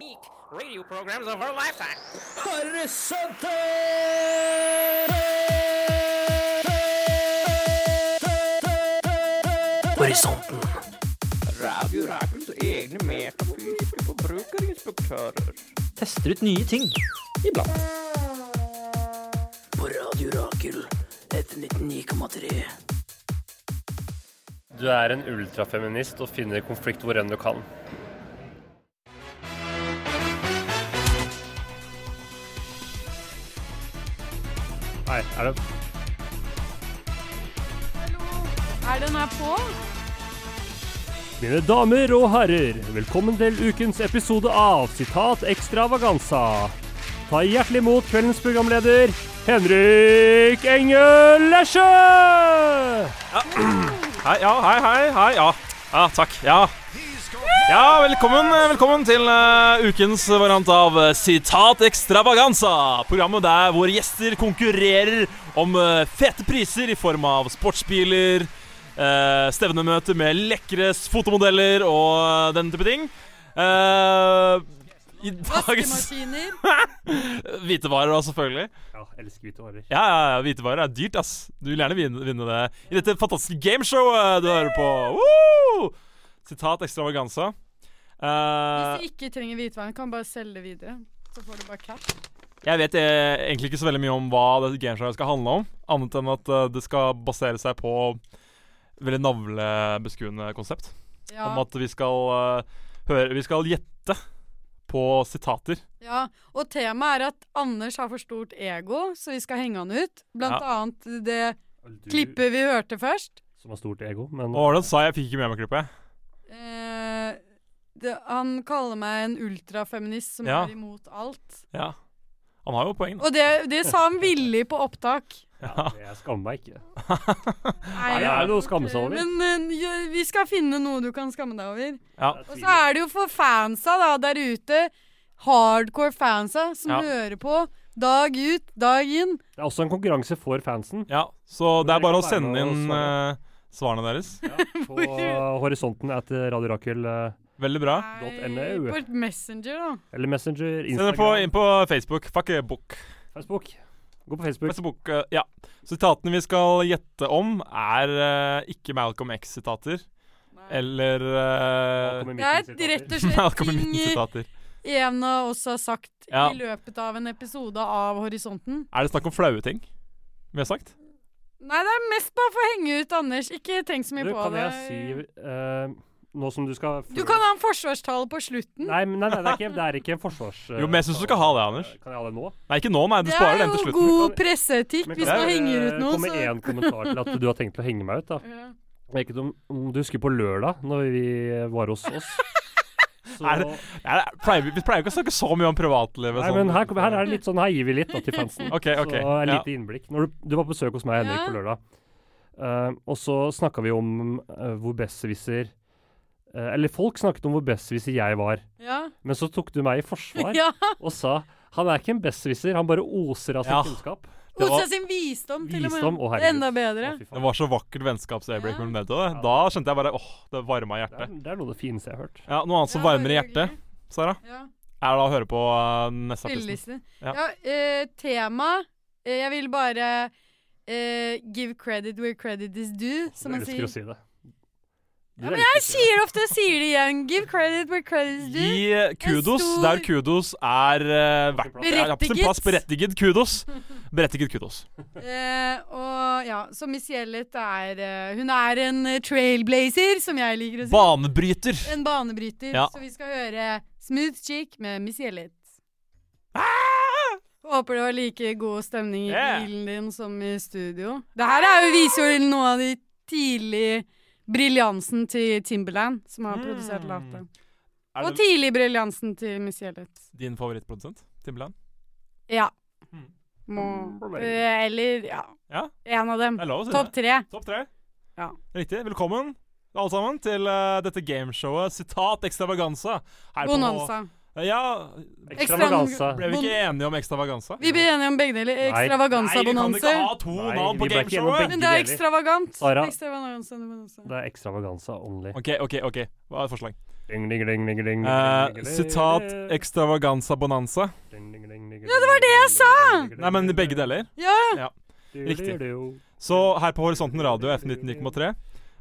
unique radio programs of her lifetime. Horisonten. Tester ut nye ting. Iblant. På Radio Rakel etter 99,3. Du er en ultrafeminist og finner konflikt hvor enn du kan. Nei, er det Er den her på? Mine damer og herrer, velkommen til ukens episode av Sitat Ekstravaganza. Ta hjertelig imot kveldens programleder, Henrik Engel Lesje! Hei, ja, hei, hei, hei, ja. Ja, takk. Ja. Ja, velkommen, velkommen til eh, ukens variant av eh, Sitat Extravaganza. Programmet der våre gjester konkurrerer om eh, fete priser i form av sportsbiler, eh, stevnemøter med lekre fotomodeller og eh, den type ting. Eh, I dagens Vaskemaskiner. hvitevarer, da, selvfølgelig. Ja, elsker hvite årer. Ja, ja, ja, hvitevarer er dyrt, ass. Du vil gjerne vinne, vinne det i dette fantastiske gameshowet du hører på. Woo! Sitat ekstravaganza. Hvis Eh, de ikke trenger hvitvaren, kan bare selge det videre. Så får du bare cap. jeg vet eh, egentlig ikke så veldig mye om hva dette gameshowet skal handle om, annet enn at eh, det skal basere seg på veldig navlebeskuende konsept. Ja. Om at vi skal eh, høre Vi skal gjette på sitater. ja. Og temaet er at Anders har for stort ego, så vi skal henge han ut. Blant annet det klippet vi hørte først. Som har stort ego, men Hva var det han sa? Jeg fikk ikke med meg klippet. jeg. Eh, det, han kaller meg en ultrafeminist som Ja. er imot alt. Ja. Han har jo poeng, da. Og det, det sa han villig på opptak. Ja. jeg skammer meg ikke. Nei, det er noe å skamme seg over. Men eh, ja, vi skal finne noe du kan skamme deg over. Ja. Og så er det jo for fansa da, der ute, hardcore fansa, som Ja. hører på dag ut, dag inn. Det er også en konkurranse for fansen ja. Så det dere er kan bare å være sende med og inn svare. eh, svarene deres. på eh, horisonten etter Radio Rakel eh, Veldig bra. Nei, .no. På et Messenger, da. eller Messenger, Send det på, Instagram, inn på Facebook. Fuckbook. Facebook. Gå på Facebook. Facebook eh, ja. Sitatene vi skal gjette om, er eh, ikke Malcolm X-sitater. Eller eh, Velkommen i Det er midten, et rett og slett Malcolm i ting midten-sitater. en av oss har sagt Ja. i løpet av en episode av Horisonten. Er det snakk om flaue ting vi har sagt? Nei, det er mest bare for å henge ut Anders. Ikke tenk så mye Du, på kan det. jeg si eh, Nå som du skal Du kan ha en forsvarstale på slutten. Nei, men nei, nei, det, er ikke, det er ikke en forsvars... eh, Jo, men jeg synes du skal ha det, Anders. Kan jeg ha det nå? Nei, ikke nå, nei. Du det sparer er den til jo slutten. god Men presseetikk Men hvis kan man jeg, henger eh, ut noen. komme Så. én kommentar til at du har tenkt til å henge meg ut, da. Ja. Jeg vet ikke om, om du husker på lørdag, når vi var hos oss. Så, Er det- Ja, det er- pleier vi, vi pleier jo ikke å snakke så mye om privatlivet. nei, sånn. men her, kom- her er det litt sånn, her gir vi litt da, til fansen. OK, OK. Så et Ja. lite innblikk. Når du, du var på besøk hos meg Henrik, Ja. på lørdag, Eh, og så snakka vi om eh, hvor besserwisser eh, Eller folk snakket om hvor besserwisser jeg var, Ja. men så tok du meg i forsvar ja. og sa han er ikke en besserwisser, han bare oser av sin Ja. kunnskap. Det var- Osa sin visdom, til Visdom, å og med. herregud. Enda bedre. Å, fy faen. Det var så vakkert vennskapsøyeblikk Ja. mellom dere to. Da skjønte jeg bare åh, det varma det, er, hjertet. det er noe av det fineste jeg har hørt. Ja, Noe annet som Ja, varmer i hyggelig. hjertet, Sara, Ja, er da å høre på eh, neste artist. spilleliste. Ja. Ja, eh, tema eh, Jeg vil bare eh, give credit where credit is due, som du man elsker sier. å si det. Du Ja, men elsker å jeg si det. sier det ofte, jeg sier det igjen. Give credit where credit is due. Gi eh, kudos stor- der kudos er eh, verdt Berettiget. er på sin plass. Berettiget kudos. Berettiget kudos. Eh, og ja, så Miss Hjellet er eh, Hun er en eh, trailblazer, som jeg liker å si. Banebryter. en banebryter. Ja. Så vi skal høre Smooth Chick med Miss Hjellet. Ah! Håper det var like god stemning i Yeah. bilen din som i studio. Det her er jo, viser jo noe av de tidlig briljansen til Timberland, som har produsert Mm. låta. Er Og det tidlig briljansen til Miss Hjellet. din favorittprodusent? Timberland? Ja. Mm. Må eh, Eller ja. Ja. En av dem. Det er lov å si Topp det. tre. Topp tre. Ja. Riktig. Velkommen alle sammen til eh, dette gameshowet Sitat Ekstravaganza. Her på- Bonanza. Ja, Ekstravaganza. ble vi ikke enige om Ekstravaganza? Vi ble enige om begge Nei, deler. vi kan ikke Ekstravaganza-bonanza. ha to Nei, vi navn på ble ikke enige om begge. gameshowet! Men det er deler. ekstravagant. Sara. Ekstravaganza-bonanza. Det er ekstravaganza only. OK, OK, OK. Hva er et forslag? Ding, ding, ding, ding, ding, Eh, ding, ding, sitat ding, extravaganza bonanza. ding, ding, ding, ding, Ja, det var det jeg sa! ding, Nei, men ding, begge deler. Ja! ding, Riktig. ding. Så her på Horisonten Radio F19,3.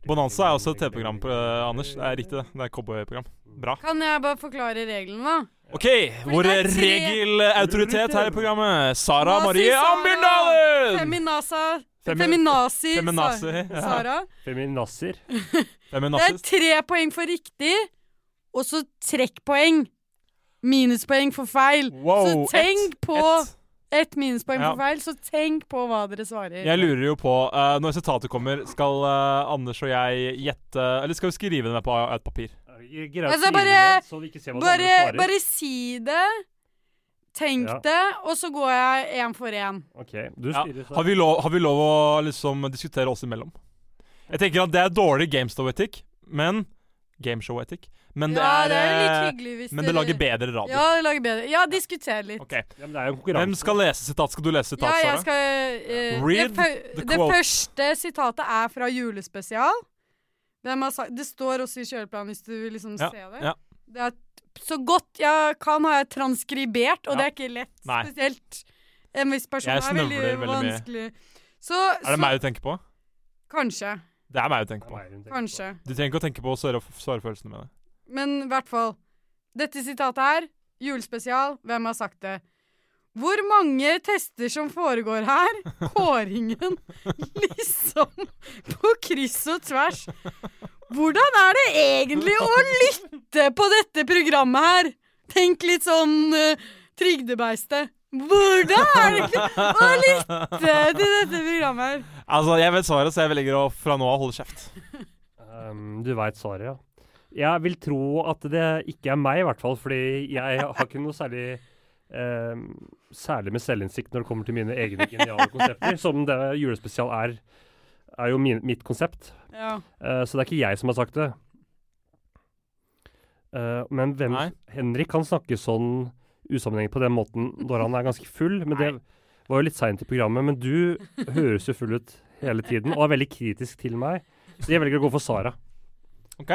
Bonanza er også et TV-program, eh, Anders. Det er riktig, det. Det er et cowboyprogram. Bra. Kan jeg bare forklare regelen, da? OK, vår det er tre- regelautoritet her i programmet, Sara Nazi Marie Sara. Ambjørndalen! Feminasa Femi- Feminazi, Feminazi, Sa- ja. Sara. Feminazzer. Det er Feminazist. tre poeng for riktig, og så trekkpoeng. Minuspoeng for feil. Wow, så tenk ett, på ett. Ett minuspoeng Ja. for feil, så tenk på hva dere svarer. Jeg lurer jo på eh, Når resultatet kommer, skal eh, Anders og jeg gjette Eller skal vi skrive det ned på et papir? Jeg greier å Altså, skrive bare- det ned, så vi ikke ser hva det bare, andre svarer. bare si det, tenk Ja. det, og så går jeg én for én. Ok, du Ja. styrer så. Har, vi lov, har vi lov å liksom diskutere oss imellom? Jeg tenker at det er dårlig gameshow-etikk, men Gameshow-etikk. Men, Ja, det det er jo litt er, hyggelig hvis eh, men det lager bedre radio. radio. Ja, det lager bedre. Ja, diskuter litt. Ok, Ja, men det er jo en Hvem konkurranse. skal lese sitat? Skal du lese sitat, Ja, jeg Sara? skal eh, Read det, fø- the det quote. første sitatet er fra julespesial. Hvem har sagt Det står også i kjøleplanen hvis du vil liksom Ja, se det. ja. Det er t- så godt jeg kan, har jeg transkribert, og det er ikke lett. Nei. Spesielt en viss person Jeg er veldig, snøvler veldig mye. vanskelig. Så, Er det så meg du tenker på? Kanskje. Det er meg du Det tenker er på. meg hun tenker på. Kanskje. Du trenger ikke å tenke på svarefølelsene mine. Men i hvert fall. Dette sitatet her, julespesial, hvem har sagt det? Hvor mange tester som foregår her? Kåringen. Liksom på kryss og tvers. Hvordan er det egentlig å lytte på dette programmet her? Tenk litt sånn eh, trygdebeiste. Hvordan er det egentlig å lytte til dette programmet her? Altså, jeg vet svaret, så jeg velger å fra nå av holde kjeft. Ehm, du veit svaret, ja. Jeg vil tro at det ikke er meg, i hvert fall. Fordi jeg har ikke noe særlig ehm, Særlig med selvinnsikt når det kommer til mine egne geniale konsepter. Som det julespesial er, er jo min, mitt konsept. Ja. Eh, så det er ikke jeg som har sagt det. Eh, men hvem Nei. Henrik kan snakke sånn usammenhengig på den måten når han er ganske full. Men det var jo litt seint i programmet. Men du høres jo full ut hele tiden og er veldig kritisk til meg. Så jeg velger å gå for Sara. Ok?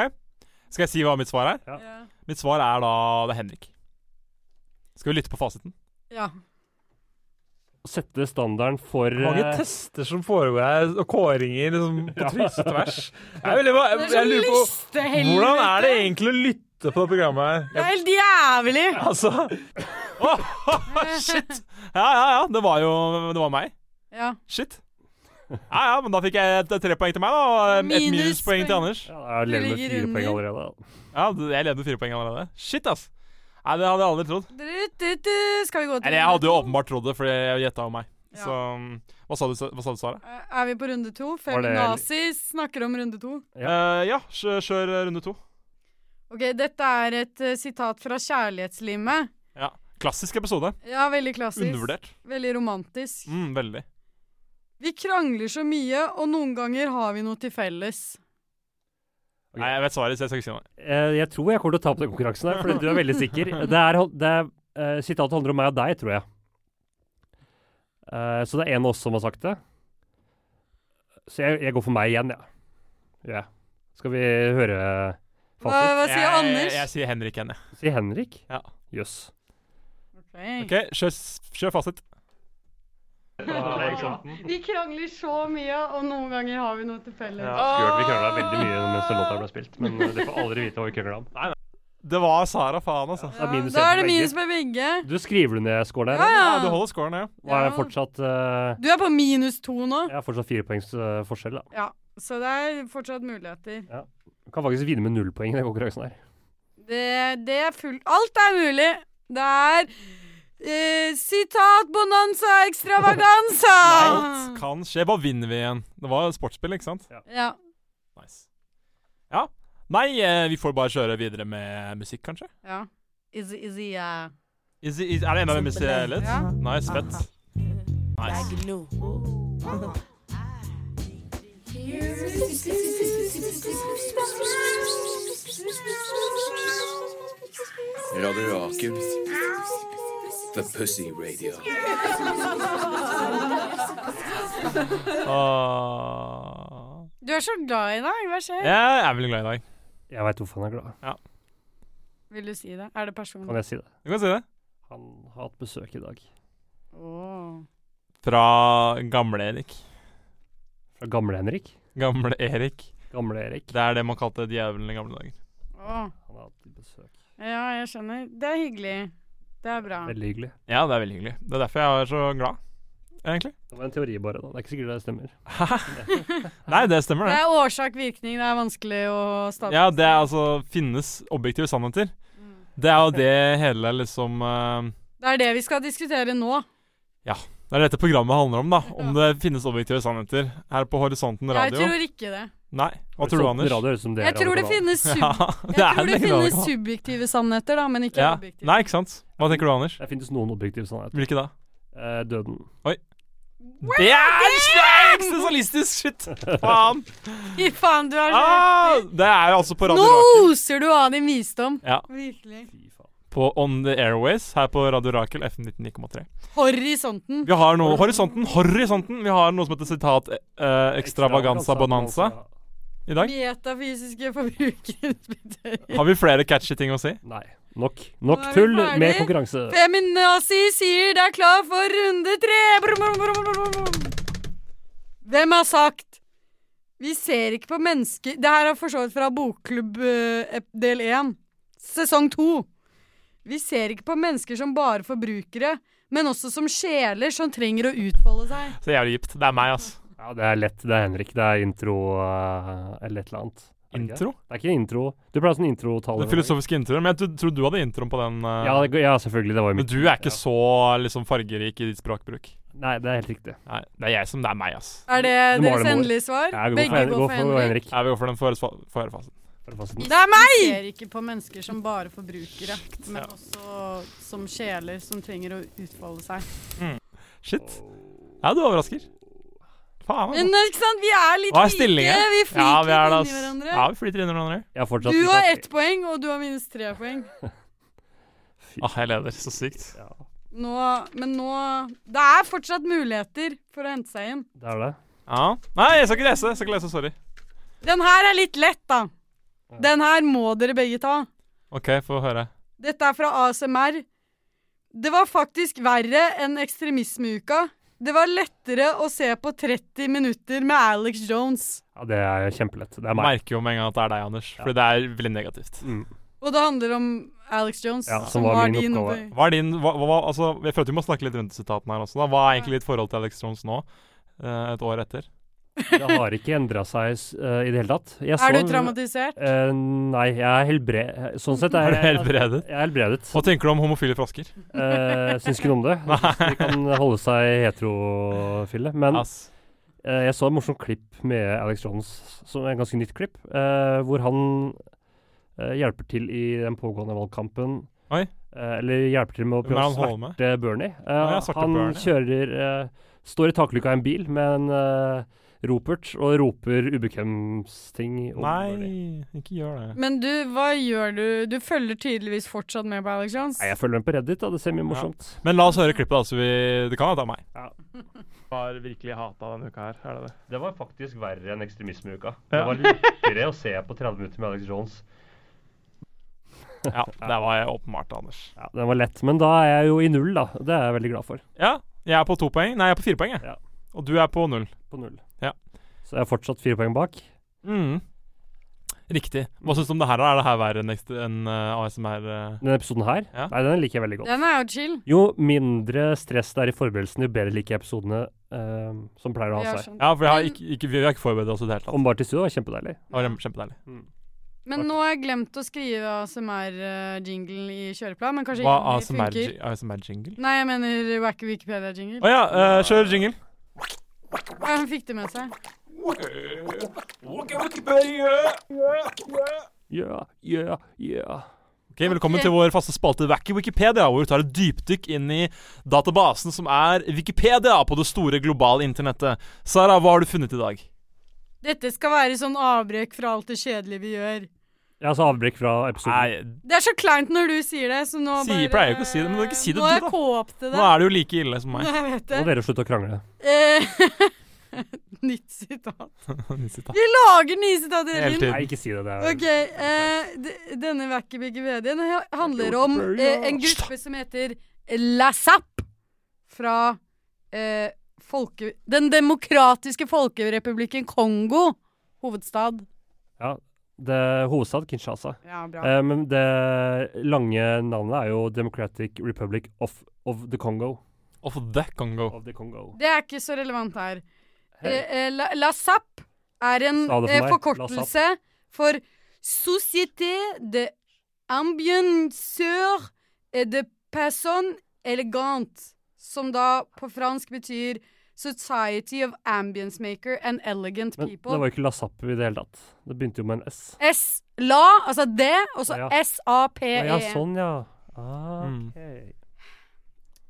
Skal jeg si hva mitt svar er? Ja. Mitt svar er da det er Henrik. Skal vi lytte på fasiten? ja. Sette standarden for Hvor mange eh, tester som foregår her, og kåringer liksom, på kryss og tvers. Jeg, er veldig, jeg, Det er jeg sånn lurer på Hvordan er det listehelvete. egentlig å lytte på det programmet her? Det er helt jævlig. Altså, Shit! Ja, ja, ja. Det var jo Det var meg. Ja. Shit. Ja, ja, men da fikk jeg et, et tre poeng til meg, da. Og et Minus minuspoeng til poeng. Anders. ja, Jeg leder med ligger fire poeng under. allerede. Ja, du- jeg leder med fire poeng allerede. Shit, ass. Nei, det hadde jeg aldri trodd. Du, du, du. Skal vi gå til Eller jeg runde hadde jo to? åpenbart trodd det, fordi jeg gjetta jo meg. Ja. Så um, Hva sa du, Sa- hva sa du Sara? Er Eh, er vi på runde to? Var det- Feminazi snakker om runde to. Ja, ja kjør, kjør eh, runde to. Ok, Dette er et eh, sitat fra Kjærlighetslimet. Ja. Klassisk episode. Ja, veldig klassisk. Undervurdert. Veldig romantisk. Mm, veldig. Vi krangler så mye, og noen ganger har vi noe til felles. Ok. Nei, jeg vet svaret, så jeg skal ikke si noe. Eh, jeg tror jeg kommer til å tape den konkurransen her, fordi du er veldig sikker. Det er, det er, eh, sitatet handler om meg og deg, tror jeg. Eh, så det er en av oss som har sagt det. Så jeg, jeg går for meg igjen, ja. ja. Skal vi høre Hva, fasit? hva sier jeg, Jeg, Anders? Mm. jeg sier Henrik igjen, jeg. Si Henrik. Ja. Jøss. OK, kjør, s- kjør fasit. Vi krangler så mye, og noen ganger har vi noe til felles. Gørn, vi krangla veldig mye mens den låta ble spilt, men eh, dere får aldri vite hva vi krangla om. Det var Sara, faen, altså. Det er minus da en er det for begge. minus på begge. Du skriver du ned score der? Ja, eller? Ja, du ja. holder scoren, ja. Hva er Ja. fortsatt eh, Du er på minus to nå. Jeg har fortsatt fire poengs eh, forskjell, da. Ja, Så det er fortsatt muligheter. Du kan faktisk vinne med null poeng i den konkurransen her. Det, det er fullt Alt er mulig. Det er eh, sitat bonanza extravaganza! Alt kan skje. Hva vinner vi igjen? Det var sportsspill, ikke sant? Ja. Nice. Ja. Nei, eh, vi får bare kjøre videre med musikk, kanskje. ja. Is, is, uh, yeah. Is, is, er det enda mer musikk? Ja. Nice, fett. Nice. Radio Rakel. The Pussy Radio. Åh. Du er så glad i dag. Hva skjer? Jeg er veldig glad i dag. Jeg veit hvorfor han er glad. Vil du si det? Er det personlig? Kan jeg si det? Du kan si det. Han har hatt besøk i dag. Åh. Fra Gamle-Erik. Fra Gamle-Henrik. Gamle-Erik. Gamle-Erik. Det er det man kalte djevelen i gamle dager. Åh. Han har hatt besøk. Ja, jeg skjønner. Det er hyggelig. Det er bra. Veldig hyggelig. Ja, det er veldig hyggelig. Det er derfor jeg er så glad, egentlig. Det var en teori bare, da. Det er ikke sikkert det stemmer. Nei, det stemmer, Det det. er årsak-virkning. Det er Mm. vanskelig å stadfeste. Ja, det er altså Finnes objektive sannheter. Det er jo det hele liksom eh, Det er det vi skal diskutere nå. Det er dette programmet handler om, da. Om det finnes objektive sannheter her på Horisonten Jeg radio. tror ikke det. Nei. Hva tror du, Anders? Radio høres ut som det Jeg er tror det radiokanal. finnes, sub Ja, er jeg tror det en radiokanal. finnes subjektive sannheter, da, men ikke ja. objektive. Nei, ikke sant? Hva tenker du, Anders? Det finnes noen objektive sannheter. Hvilke da? Eh, døden. Det er sterk sosialistisk shit! Faen! Fy faen, du har Ah, det er altså på Radio Nå Rakel. oser du av din visdom. Ja. Virkelig. Fy faen. På On The Airways her på Radio Rakel FM 99,3. Horisonten. Vi har noe Horisonten, horisonten! Vi har noe som heter sitat eh, Extravaganza Bonanza i dag. Metafysiske forbrukerutbytter. Har vi flere catchy ting å si? Nei. Nok. Nok Nå er vi tull ferdig. med konkurranse. Feminazi sier det er klar for runde tre. Brum, brum, brum, brum, brum. Hvem har sagt Vi ser ikke på mennesker Det her er for så vidt fra bokklubb eh, ep- del én, sesong to. Vi ser ikke på mennesker som bare forbrukere, men også som sjeler som trenger å utfolde seg. Så jævlig dypt. Det er meg, ass. Ja, det er lett. Det er Henrik. Det er intro eh, eller et eller annet. Er det ikke? Intro? Det er ikke intro. Du pleier å ha sånn introtale. Den filosofiske introen. Men jeg tro- tror du hadde introen på den. eh, ja, det går- ja, selvfølgelig. Det var jo men mitt. du er ikke så liksom fargerik i ditt språkbruk. Nei, det er helt riktig. Nei, det er jeg som Det er meg, ass. Er det Du må ha deres det mor. endelige svar? Ja, vi går Begge for, går for Henrik. Jeg vil gå for den forrige fasen. For å faste den. Det er meg! Vi ser ikke på mennesker som bare forbrukere, men også som sjeler som trenger å utfolde seg. Shit. Ja, du overrasker. Faen. Men Altså. eh, ikke sant, vi er litt Hva er stillingen? Vi flyter Ja, vi er det, inni ass. hverandre. Ja, vi flyter inn i hverandre. Jeg har fortsatt Du ikke har hatt- ett poeng, og du har minus tre poeng. Ah, jeg leder. Så sykt. Ja, Nå, men nå Det er fortsatt muligheter for å hente seg inn. det er det. Ja. Nei, jeg skal ikke lese. Jeg skal ikke lese, Sorry. Den her er litt lett, da. Den her må dere begge ta. OK, få høre. Dette er fra ASMR. Det var faktisk verre enn ekstremismeuka. Det var lettere å se på 30 minutter med Alex Jones. Ja, det er kjempelett. Det er Jeg meg. merker jo med en gang at det er deg, Anders. Fordi det er veldig negativt. Mm. Og det handler om Alex Jones, Ja, som var min din oppgave. oppgave. Hva er din hva, hva, altså, Jeg følte vi må snakke litt rundt sitatene her også. da Hva er egentlig ditt forhold til Alex Jones nå? eh, et år etter? Det har ikke endra seg s- eh, i det hele tatt. Jeg Er så- du traumatisert? Eh, nei, jeg er helbredet. Sånn sett er Er du jeg helbredet? Jeg er helbredet. Hva tenker du om homofile frosker? Uh, syns ikke noe om det. De kan holde seg heterofile. Men Ass. Eh, jeg så et morsomt klipp med Alex Jones, som er et ganske nytt klipp, eh, hvor han eh, hjelper til i den pågående valgkampen. Oi. Eh, eller hjelper til med å Hvem prøve er å han holder med? sverte Bernie. Eh, ja, svarte han Bernie. kjører eh, Står i takluka i en bil med en eh, ropert og roper ubekvemsting om Bernie. Nei, ikke gjør det. Men du, hva gjør du? Du følger tydeligvis fortsatt med på Alex Jones. Nei, jeg følger med på Reddit, da. Det ser mye morsomt. Men la oss høre klippet, da. Så vi, det kan være at det er meg. Ja. Har virkelig hata denne uka her. Er det det? Det var faktisk verre enn ekstremismeuka. Det var lettere å se på 30 minutter med Alex Jones. Ja, det var jeg åpenbart, Anders. Ja, Den var lett, men da er jeg jo i null, da. Det er jeg veldig glad for. Ja, jeg er på to poeng. Nei, jeg er på fire poeng, jeg. Ja. Og du er på null. På null. Ja. Så jeg er fortsatt fire poeng bak. Mm. Riktig. Hva syns du om det her? da? Er det her verre enn ekst- enn eh, ASMR? eh? Denne episoden her, Ja. nei, den liker jeg veldig godt. Den er jo chill. Jo mindre stress det er i forberedelsen, jo bedre liker jeg episodene eh, som pleier å Vi ha har seg. skjønt. Ja, for jeg har ikke, ikke, vi har ikke forberedt oss i det hele tatt. Om bare til studio, det var kjempedeilig. Det var kjempe- kjempedeilig. Men nå har jeg glemt å skrive ASMR-jinglen eh, i kjøreplan, men kanskje Hva jingler funker. ASMR-jingle? ASMR jingle? Nei, jeg mener Wacky Wikipedia-jingle. Å ja, eh, kjør jingle. Ja, han fikk det med seg. Ja, ja, ja. Ok, Velkommen Ok. til vår faste spalte Wacky Wikipedia, hvor vi tar et dypdykk inn i databasen som er Wikipedia på det store globale internettet. Sara, hva har du funnet i dag? Dette skal være sånn avbrekk fra alt det kjedelige vi gjør. Ja, så altså avbrekk fra episoden. Nei, Det er så kleint når du sier det, så nå Sier- bare pleier jo ikke å si det, men du kan ikke si det Nå har du, da. jeg kåpet det. Nå er det jo like ille som meg. Nå, jeg vet Nå må det. dere slutte å krangle. Eh, nytt sitat. Nissita. Vi lager nye sitater Hele hele tiden. tiden. Nei, ikke si det. det er, Ok, eh, d- denne Wackybiggibedien handler om eh, en gruppe som heter LASAP fra eh, folke, Den demokratiske folkerepublikken Kongo, hovedstad. Ja, det er hovedstad Kinshasa. Ja, bra. Eh, men det lange navnet er jo Democratic Republic of, of the Congo. Off the Congo. Of the Congo. Det er ikke så relevant her. Eh, eh, la, LASAP er en Sa det for eh, meg. forkortelse for Société de Ambianceur et de Personne Elegant, som da på fransk betyr Society of Ambience Maker and Elegant Men People. det var jo ikke Lasapp i det hele tatt. Det begynte jo med en S. S, la, altså det, og så Ja. S-A-P-E. Å ja, sånn ja. Ah, Mm. ok.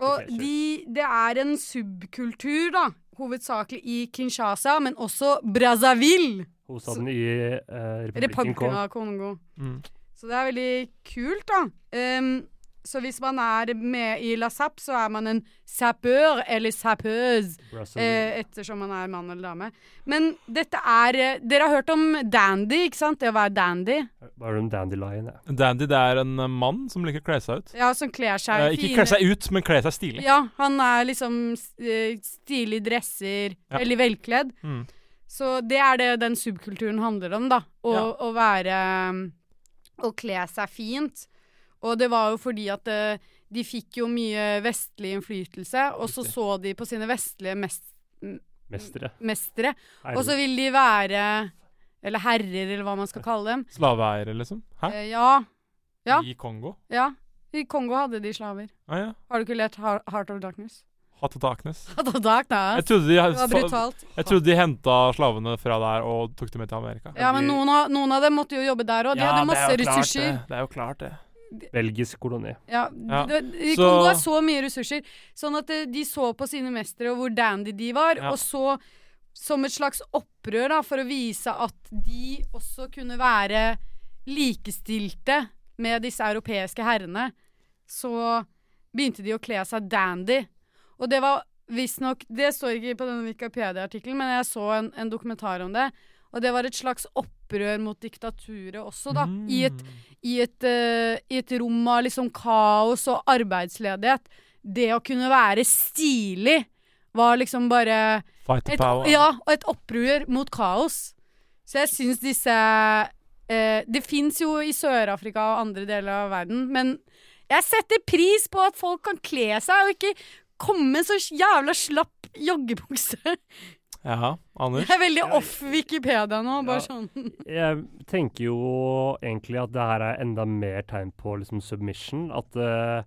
Og Ok, sure. de, det er en subkultur, da. Hovedsakelig i Kinshasa, men også Brazzaville. Hovedstaden i eh, Republikken Republikken Kongo. av Kongo. Mm. Så det er veldig kult, da. Ehm, så hvis man er med i La Zapp, så er man en sapeur eller sappeuse, Brazzaville. eh, ettersom man er mann eller dame. Men dette er eh, Dere har hørt om dandy, ikke sant? Det å være dandy. Hva er det om Dandelion? Ja. Dandy det er en eh, mann som liker å kle seg ut. Ja, som kler seg Eh, ikke kle seg ut, men kle seg stilig. Ja, han er liksom eh, stilig dresser, Ja. veldig velkledd. Mm. Så det er det den subkulturen handler om, da. Å, Ja. å være Å kle seg fint. Og det var jo fordi at eh, de fikk jo mye vestlig innflytelse, og så Riktig. så de på sine vestlige mes Mestere. mestere, og så Herre. vil de være Eller herrer, eller hva man skal kalle dem. Slaveeiere, liksom. Hæ? Eh, ja. Ja. I Kongo? Ja. I Kongo hadde de slaver. Ah, ja. Har du ikke lært Har- Heart of Darkness? Hatt og taknes. Jeg Det trodde de, var fa- brutalt. jeg trodde de henta slavene fra der og tok dem med til Amerika. Ja, men noen av, noen av dem måtte jo jobbe der òg. De hadde masse ressurser. det. er jo klart, det. Belgisk koloni. Ja, Ja. Det, de Så- Kongo har så mye ressurser. Sånn at eh, de så på sine mestere og hvor dandy de var, Ja. og så som et slags opprør da, for å vise at de også kunne være likestilte med disse europeiske herrene, så begynte de å kle seg dandy. Og det var visstnok Det står ikke på denne Wikipedia-artikkelen, men jeg så en, en dokumentar om det. Og det var et slags opprør mot diktaturet også, da. I et, i, et, eh, I et rom av liksom kaos og arbeidsledighet. Det å kunne være stilig var liksom bare Fight the et, power. Ja, og et opprør mot kaos. Så jeg syns disse eh, Det fins jo i Sør-Afrika og andre deler av verden, men jeg setter pris på at folk kan kle seg og ikke komme med så jævla slapp joggebukse. Jeg Ja, Anders. er veldig off Wikipedia nå, bare Ja. sånn. Jeg tenker jo egentlig at det her er enda mer tegn på liksom submission. At eh,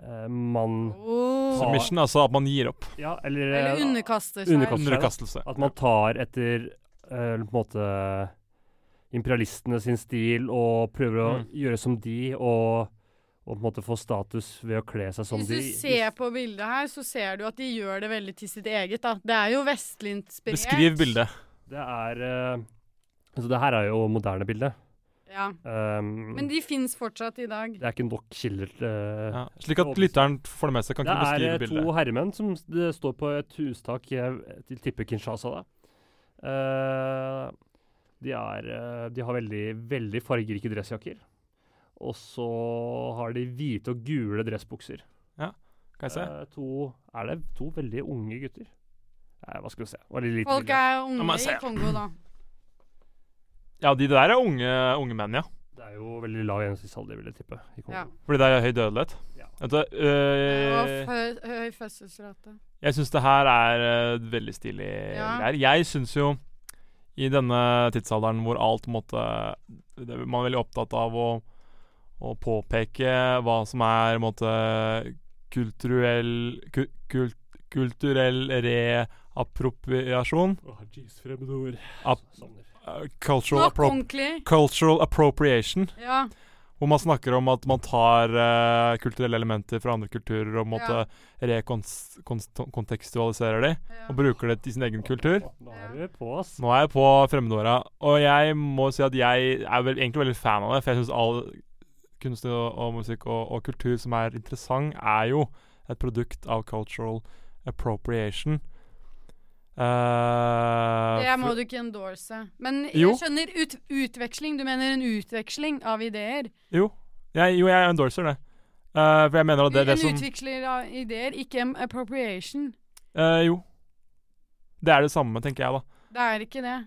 eh, man Oh. Submission, altså at man gir opp. Ja, eller, eh, Eller underkaster seg. Underkaster. Underkastelse. At man tar etter eh, på en måte imperialistene sin stil og prøver å Mm. gjøre som de, og, og på en måte få status ved å kle seg som Hvis de. du ser på bildet her, så ser du at de gjør det veldig til sitt eget. Da. Det er jo vestlig inspirert. Beskriv bildet. Det er eh, Altså, det her er jo moderne bilde. Ja. Um, Men de fins fortsatt i dag. det er ikke nok eh, kilder til Ja. Slik at lytteren får det med seg. Kan Det er ikke beskrive eh, to bildet. herremenn som s- det står på et hustak Jeg til tipper Kinshasa, da. Eh, de, er, eh, de har veldig, veldig fargerike dressjakker. Og så har de hvite og gule dressbukser. Kan jeg se? Eh, to, er det to veldig unge gutter? Nei, hva skal vi se. Var det lite Folk bilde? er La unge meg se. i Kongo, da. Ja, de der er unge, unge menn, ja. Det er jo veldig lav gjennomsnittsalder, vil jeg tippe. i Kongo. Ja. Fordi der er høy dødelighet. Ja. Vet du, Og øh, høy, høy fødselsrate. jeg syns det her er øh, veldig stilig Ja. greier. Jeg syns jo i denne tidsalderen hvor alt på en måte det, Man er veldig opptatt av å, å påpeke hva som er på en måte kulturell ku, kult, Kulturell reappropriasjon. Åh, jeez, fremmedord. Ap- Savner. øh, Cultural, Nok appro ordentlig. cultural appropriation. Ja. Hvor man snakker om at man tar eh, kulturelle elementer fra andre kulturer og på en måte rekontekstualiserer de ja. og bruker det i sin egen kultur. Nå er du på oss. Nå er jeg på fremmedåra, og jeg må si at jeg er vel, egentlig veldig fan av det. For jeg syns all kunst og, og musikk og, og kultur som er interessant, er jo et produkt av cultural appropriation. Eh, Det må for- du ikke endorse. Men Jo. jeg skjønner ut, utveksling. Du mener en utveksling av ideer? Jo, jeg, jo, jeg endorser det. Eh, for jeg mener at det er det en som utveksler av ideer, ikke en appropriation. eh, Jo. Det er det samme, tenker jeg, da. Det er ikke det.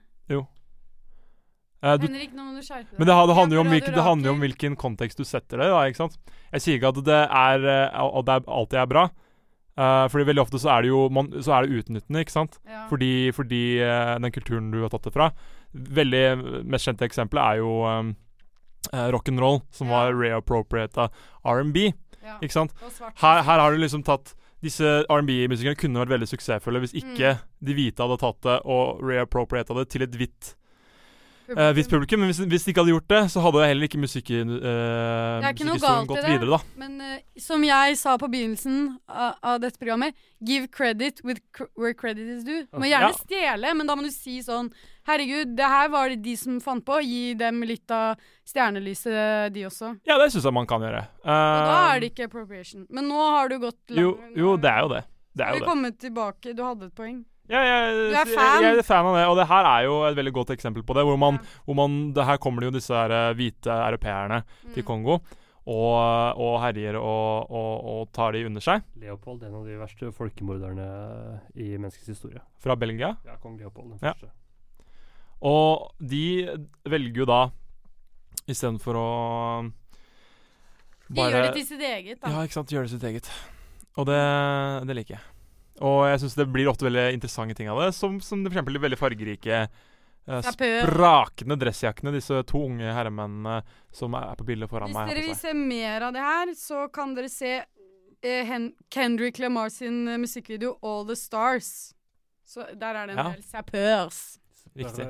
Eh, du, Henrik, nå må du skjerpe deg. men det, ha- det handler jo om Ja, hvilken, det handler jo om Radio Rakel. hvilken kontekst du setter det i, da, ikke sant. Jeg sier ikke at det er eh, at det er, alltid er bra. Uh, fordi veldig ofte så er det jo man, så er det utnyttende, ikke sant. Ja. Fordi, fordi eh, den kulturen du har tatt det fra. Veldig eh, mest kjente eksempelet er jo um, rock'n'roll, som Ja. var reappropriata R&B, Ja. ikke sant. Og svart. Her, her har du liksom tatt Disse R&B-musikerne kunne vært veldig suksessfulle hvis ikke Mm. de hvite hadde tatt det og reappropriata det til et hvitt eh, hvitt publikum. Men hvis, hvis de ikke hadde gjort det, så hadde heller ikke musikken Det uh, er ikke noe galt i gått det. videre, da. Men eh, som jeg sa på begynnelsen av, av dette programmet, give credit with cr where credit is due. Du må gjerne Ja. stjele, men da må du si sånn Herregud, det her var det de som fant på. Gi dem litt av stjernelyset, de også. Ja, det syns jeg man kan gjøre. Eh, Og da er det ikke appropriation. Men nå har du gått Um, langt. jo, jo, det er jo det. Det er Du jo det. kommet tilbake, du hadde et poeng. Ja, jeg, Du er jeg- fan. Jeg, er fan av det, og det her er jo et veldig godt eksempel på det. Hvor man, hvor man det Her kommer det jo disse her, eh, hvite europeerne Mm. til Kongo og, og herjer og, og, og tar de under seg. Leopold, en av de verste folkemorderne i menneskets historie. Fra Belgia. Ja, kong Leopold den Ja. første. Og de velger jo da, istedenfor å De gjør det til sitt eget, da. Ja, ikke sant. Gjøre det sitt eget. Og det, det liker jeg. Og jeg syns det blir ofte veldig interessante ting av det, som, som for eksempel de veldig fargerike eh, Sapeur. sprakende dressjakkene disse to unge herremennene som er på bildet foran Hvis meg. dere har vil på seg. se mer av det her, så kan dere se eh, Hen Kendrick Lamar sin eh, musikkvideo All The Stars. Så der er det en Ja. del sapeurs. Riktig.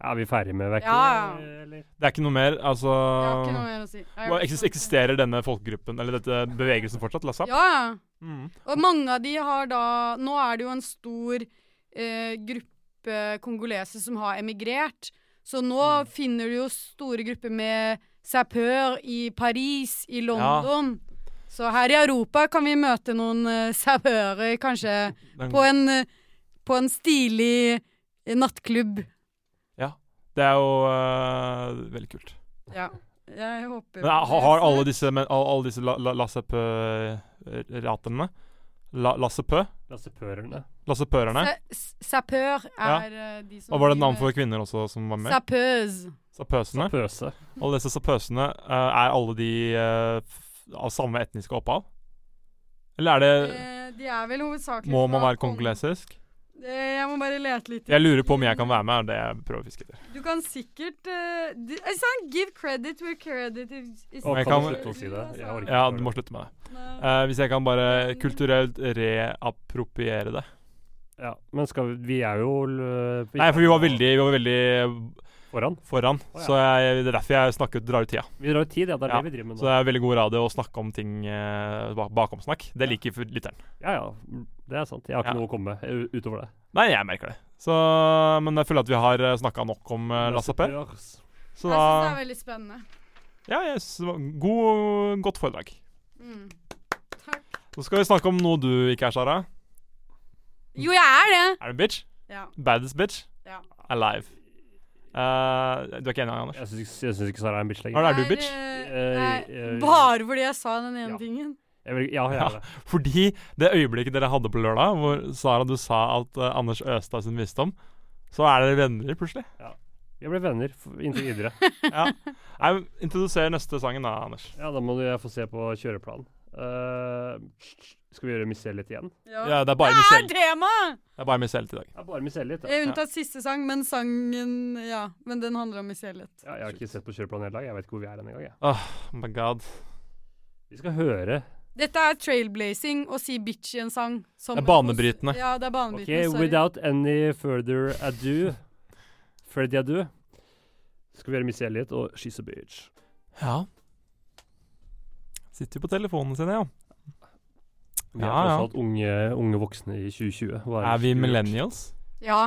Ja, vi er ferdig med verket? Ja, eller? Det er ikke noe mer, altså Jeg har ikke noe mer å si. Jeg har hva- ikke eksis- noe å si. Eksisterer denne folkegruppen, eller dette bevegelsen, fortsatt? Lassap? Ja, ja. Mm. Og mange av de har da Nå er det jo en stor eh, gruppe kongolese som har emigrert. Så nå Mm. finner du jo store grupper med sapeur i Paris, i London. Så her i Europa kan vi møte noen eh, sapeurer, kanskje, Den, på en, eh, på en stilig eh, nattklubb. det er jo øh, veldig kult. Ja. Jeg håper Men er- har, har alle disse, men, all- alle disse la, la, lassepø-ratene la, Lassepø? Lassepørerne. Lassepørerne? S- Sapeur er eh, de som Og var det et navn driver- for kvinner også som var med? Sapeuse. Sapøsene? Pøse. Alle disse sapøsene, øh, er alle de øh, f- av samme etniske opphav? Eller er det Eh, De er vel hovedsakelig Må man fra være Kong- kongolesisk? Eh, Jeg må bare lete litt. Jeg lurer på om jeg kan være med, er det jeg prøver å fiske etter. Du kan sikkert eh, du, jeg sa give credit where credit is, is Og Jeg kan kan- du slutte å si det? Jeg orker Ja, ikke å du må høre det. slutte med det. Nei. Eh, hvis jeg kan bare kulturelt reappropriere det. Ja, men skal vi Vi er jo l- Nei, for vi var veldig, vi var veldig foran. foran, Å, ja. så jeg, det er derfor jeg snakker, drar ut tida. Vi drar ut tid, ja. Det er Ja, det vi driver med Så nå. det er veldig god radio å snakke om ting eh, bak- bakomsnakk. Det liker for lytteren. Ja ja, det er sant. Jeg har ikke Ja. noe å komme med u- utover det. Nei, jeg merker det. Så, men jeg føler at vi har snakka nok om eh, Lasse P. Lassepørs. Så Jeg da syns det er veldig spennende. Ja, jeg synes det var god, godt foredrag. Mm. Takk. Så skal vi snakke om noe du ikke er, Sara. Jo, jeg er det! Er du en bitch? Ja. Baddest bitch? Ja. Alive. Eh, du er ikke enig, Anders? Jeg syns ikke- jeg syns ikke Sara er en bitch lenger. Er, er du bitch? eh, nei, Eh, eh, bare fordi jeg sa den ene ja. tingen. Jeg vil, ja, jeg Ja. er det. Fordi det øyeblikket dere hadde på lørdag, hvor Sara du sa at eh, Anders øste av sin visdom, så er dere venner plutselig. Vi ble venner f- inntil videre. Ja. Nei, men Introduser neste sangen da, Anders. Ja, da må du, jeg få se på kjøreplanen. Eh, skal vi gjøre Miss Elliot igjen? Ja. Ja, det er bare Det er Michelle. tema! Det er bare Michelle til i dag. Ja, bare Miss Elliot. Ja. Eh, Unntatt siste sang, men sangen Ja, men den handler om Michelet. Ja, jeg har ikke sett på kjøreplanen hele dag. Jeg vet ikke hvor vi er hen engang. jeg. Oh my god. Vi skal høre Dette er trailblazing å si bitch i en sang. som- Det er banebrytende. Ja, det er Ok, banebrytende. sorry. without any further ado Freddy ado Skal vi gjøre Miss Elliot og She's a Bitch Ja. Sitter jo på telefonen sin, ja. Vi er Ja, ja. tross alt unge, unge voksne i 2020 Hva Er det som vi gjør? millennials? Ja.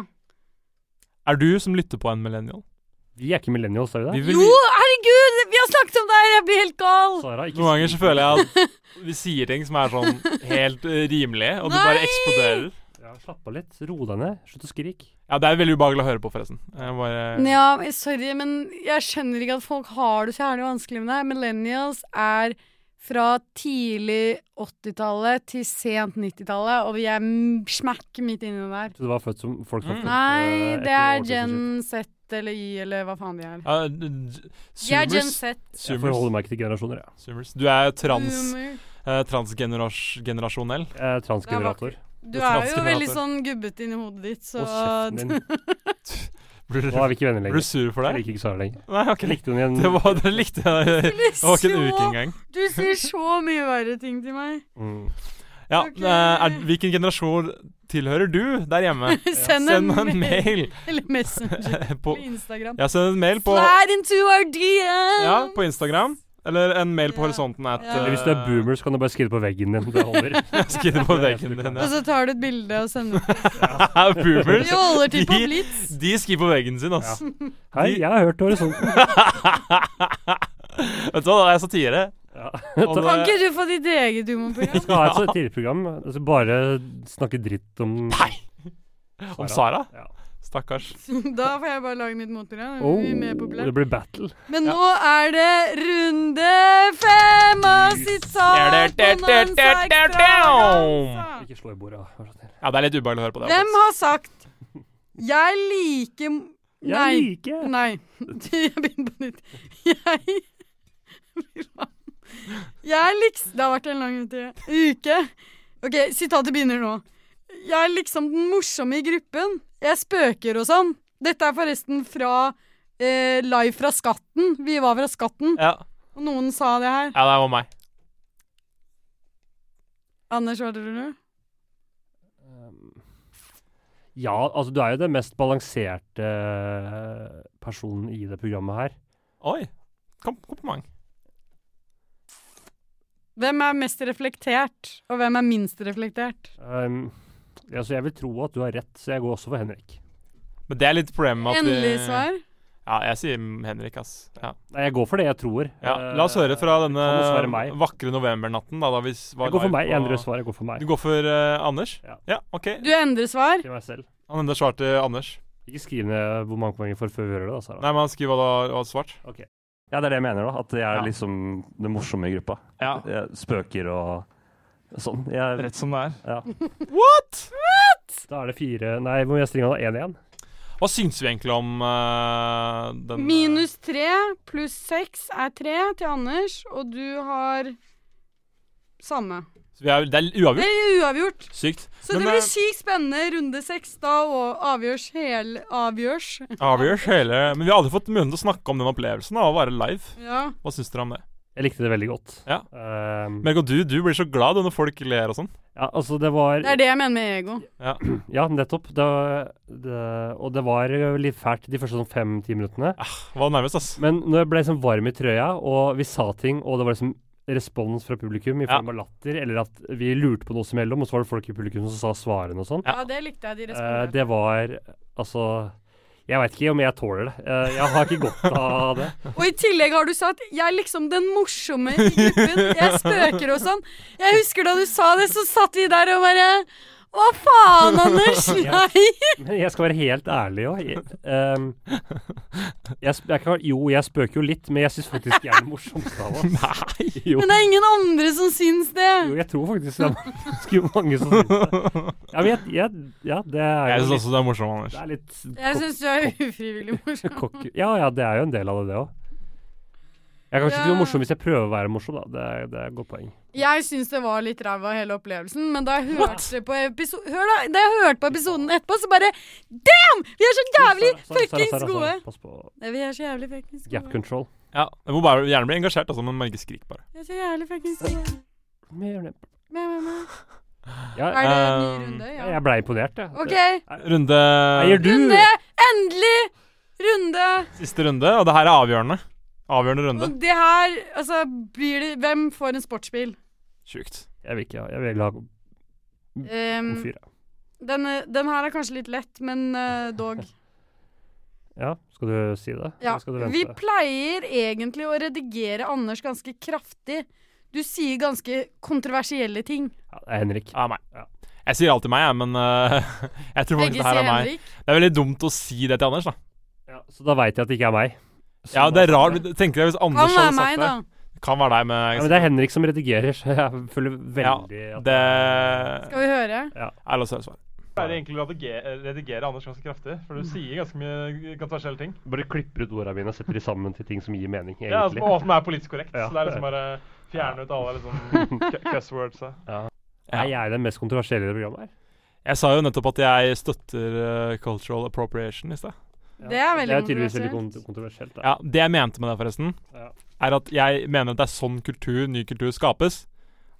Er du som lytter på en millennial? Vi er ikke millennials, er vi det? Vi vil- Jo, herregud! Vi har snakket om deg! Jeg blir helt gal! Sara, ikke Noen ganger så si- føler jeg at vi sier ting som er sånn helt eh, rimelige, og du bare Nei! eksploderer. ja. Slapp av litt. Ro deg ned. Slutt å skrike. Ja, det er veldig ubehagelig å høre på, forresten. Jeg bare Ja, men sorry, men jeg skjønner ikke at folk har det så jævlig vanskelig med det. Millennials er fra tidlig 80-tallet til sent 90-tallet, og vi er m- smakk midt inni der. Så det var født som folk var Mm. født eh, Nei, etter det er årtusen Gen sitt. Z eller Y eller hva faen de er. ja, d- d- De er Gen Zoomers. Z. Jeg Zoomers. forholder meg ikke til generasjoner, jeg. Zoomers. Du er trans, Boomer. eh, transgenerasjonell. jeg er transgenerator. Du Det er franske jo veldig pratet. sånn gubbete inni hodet ditt, så Og kjeften din. Blir Nå er vi ikke venner blir du lenger. sur for Jeg det? liker ikke Sara lenger. Nei, ok. Jeg likte hun igjen. Det, var, det likte jeg. Det var ikke en uke Så- engang. Du sier så mye verre ting til meg. Mm. Ja, Ok. eh, er, Hvilken generasjon tilhører du der hjemme? Send en, Send meg en mail. mail Eller Messenger på eller Instagram. Ja, send en mail på Slide into our DM! Ja, på Instagram. Eller en mail på Ja. horisonten at Ja. eh, Eller Hvis du er boomer, så kan du bare skrive det på veggen din. Det holder. Skriv det på veggen din. Og Ja. så tar du et bilde og sender det. Vi Boomers. holder til på De- Blitz. De skriver på veggen sin, ass. Hei, jeg har hørt horisonten. Vet du hva, det er satire. Ja. Og Kan det- ikke du få ditt eget Vi humorprogram? skal ha et satireprogram. Altså bare snakke dritt om Nei! eh, Om Sara? Ja. Stakkars. Da får jeg bare lage mitt motprogram. Det Oh, blir mer det populært. blir battle. Men nå er det runde fem av sitat! Bonanza Extravaganza. Ikke slå i bordet. vær så snill. Ja, det er litt ubehagelig å høre på det. Hvem har sagt 'jeg liker m- Jeg Nei. liker Nei. Jeg begynner på nytt. Jeg Jeg liksom Det har vært en lang uke. uke. OK, sitatet begynner nå. Jeg er liksom den morsomme i gruppen. Jeg spøker og sånn. Dette er forresten fra eh, Live fra Skatten. Vi var fra Skatten, Ja. og noen sa det her. ja, det var meg. Anders, hva tror du? Um, Ja, altså du er jo den mest balanserte eh, personen i det programmet her. Oi. Kom- Kompliment. Hvem er mest reflektert, og hvem er minst reflektert? Um, altså jeg vil tro at du har rett, så jeg går også for Henrik. Men det er litt problemet med at vi- Endelig svar. Ja, jeg sier Henrik, ass. Ja. Nei, jeg går for det jeg tror. ja. La oss høre fra Eh, Det kan dessverre meg. denne vakre novembernatten, da, da vi s- var Jeg går for live meg. Jeg endrer på- svar. Jeg går for meg. Du går for eh, Anders? Ja. OK. Du endrer svar. Til meg selv. Han endrer svar til Anders. Ikke skriv ned hvor mange poeng jeg får før vi hører det. da, Sara. Nei, men han skriver hva det var svart. Ja, det er det jeg mener, da. At jeg er Ja. liksom det morsomme i gruppa. Ja. Jeg spøker og sånn. Jeg, Rett som det er. ja. What?! Da er det fire Nei, hvor mye er stringa da? Én igjen? Hva syns vi egentlig om eh, den eh, Minus tre pluss seks er tre til Anders, og du har samme. vi er, Det er Det uavgjort. er uavgjort. Sykt. Så det Men, eh, blir sykt spennende runde seks. Da og avgjørs hele Avgjørs. Avgjørs hele Men vi har aldri fått muligheten til å snakke om den opplevelsen av å være live. Ja. Hva syns dere om det? Jeg likte det veldig godt. Ja. Um, Merk at du, du blir så glad når folk ler og sånn. ja altså, det var Det er det jeg mener med ego. Ja, nettopp. Det, det, og det var jo litt fælt de første sånn fem-ti minuttene. Var nærmest, ass. Men når jeg ble liksom varm i trøya, og vi sa ting, og det var liksom respons fra publikum i Ja. form av latter, eller at vi lurte på noe som mellom, og så var det folk i publikum som sa svarene og sånn, Ja. Ja, det likte jeg de eh, responderte. det var Altså jeg veit ikke om jeg tåler det. Eh, jeg har ikke godt av det. Og i tillegg har du sagt 'jeg er liksom den morsomme i gruppen', 'jeg spøker' og sånn. Jeg husker da du sa det, så satt vi der og bare Hva faen, Anders? Nei! Men jeg skal være helt ærlig òg. Jeg, ehm, jeg, sp- jeg kan- jo, jeg spøker jo litt, men jeg syns faktisk jeg er den morsomste av oss. Nei! Jo. Men det er ingen andre som syns Jo, det. jeg tror faktisk det er ganske mange som syns det. Ja, men jeg, jeg, ja det er Jeg jo syns litt, også du er morsom, Anders. det er litt Jeg kok- syns du er ufrivillig morsom. kokk... Ja ja, det er jo en del av det, det òg. Jeg er kanskje ikke Ja. så morsom hvis jeg prøver å være morsom, da. Det er, det er et godt poeng. Jeg syns det var litt ræva hele opplevelsen, men da jeg hørte på episo- Hør da, da jeg hørte på episoden etterpå, så bare Damn! Vi er så jævlig Sara, Sara, Sara, Sara, fuckings Sara, gode! sånn, Pass på Nei, vi er så jævlig fuckings gap gode. control. Ja, Jeg må bare gjerne bli engasjert, altså, men bare ikke skrik, bare. Vi er så jævlig fuckings gode. Mæ, mæ, mæ. Ja, Er det en ny Um, runde? jeg- Ja. jeg blei imponert, jeg. OK, Det- Runde Nei, Gjør du? runde! Endelig! Runde! Siste runde, og det her er avgjørende. Avgjørende runde. Og det her, altså blir det Hvem får en sportsbil? Sjukt. Jeg vil ikke ha Jeg vil ha god Um, fyr, jeg. den, eh, den her er kanskje litt lett, men eh, dog. Ja, skal du si det? Ja, Eller skal du vente? vi pleier egentlig å redigere Anders ganske kraftig. Du sier ganske kontroversielle ting. ja, det er Henrik. Ja, meg. Ja. Jeg sier alltid meg, jeg, men eh, jeg tror faktisk Begge det her sier er meg. Henrik. Det er veldig dumt å si det til Anders, da. Ja, så da veit jeg at det ikke er meg. Ja, det er rart. Tenk deg hvis Anders Han er hadde meg, sagt det. da. Kan være deg med Ja, men det er Henrik som redigerer, så jeg føler veldig Ja, at det Skal vi høre? Nei, la oss høre svaret. pleier egentlig å redige- redigere Anders ganske kraftig, for du sier ganske mye kontroversielle ting. Bare klipper ut ordene mine og setter de sammen til ting som gir mening, egentlig. Ja, altså, og som er politisk korrekt. Ja. Så det er liksom bare fjerne ut alle liksom cu- cuss words. da. Nei, jeg er den mest kontroversielle i det programmet her. Jeg sa jo nettopp at jeg støtter eh, cultural appropriation i sted. Det er Det veldig er tydeligvis veldig kontroversielt. kont- kontroversielt. Da. Ja, Det jeg mente med det, forresten, Ja. er at jeg mener at det er sånn kultur, ny kultur skapes.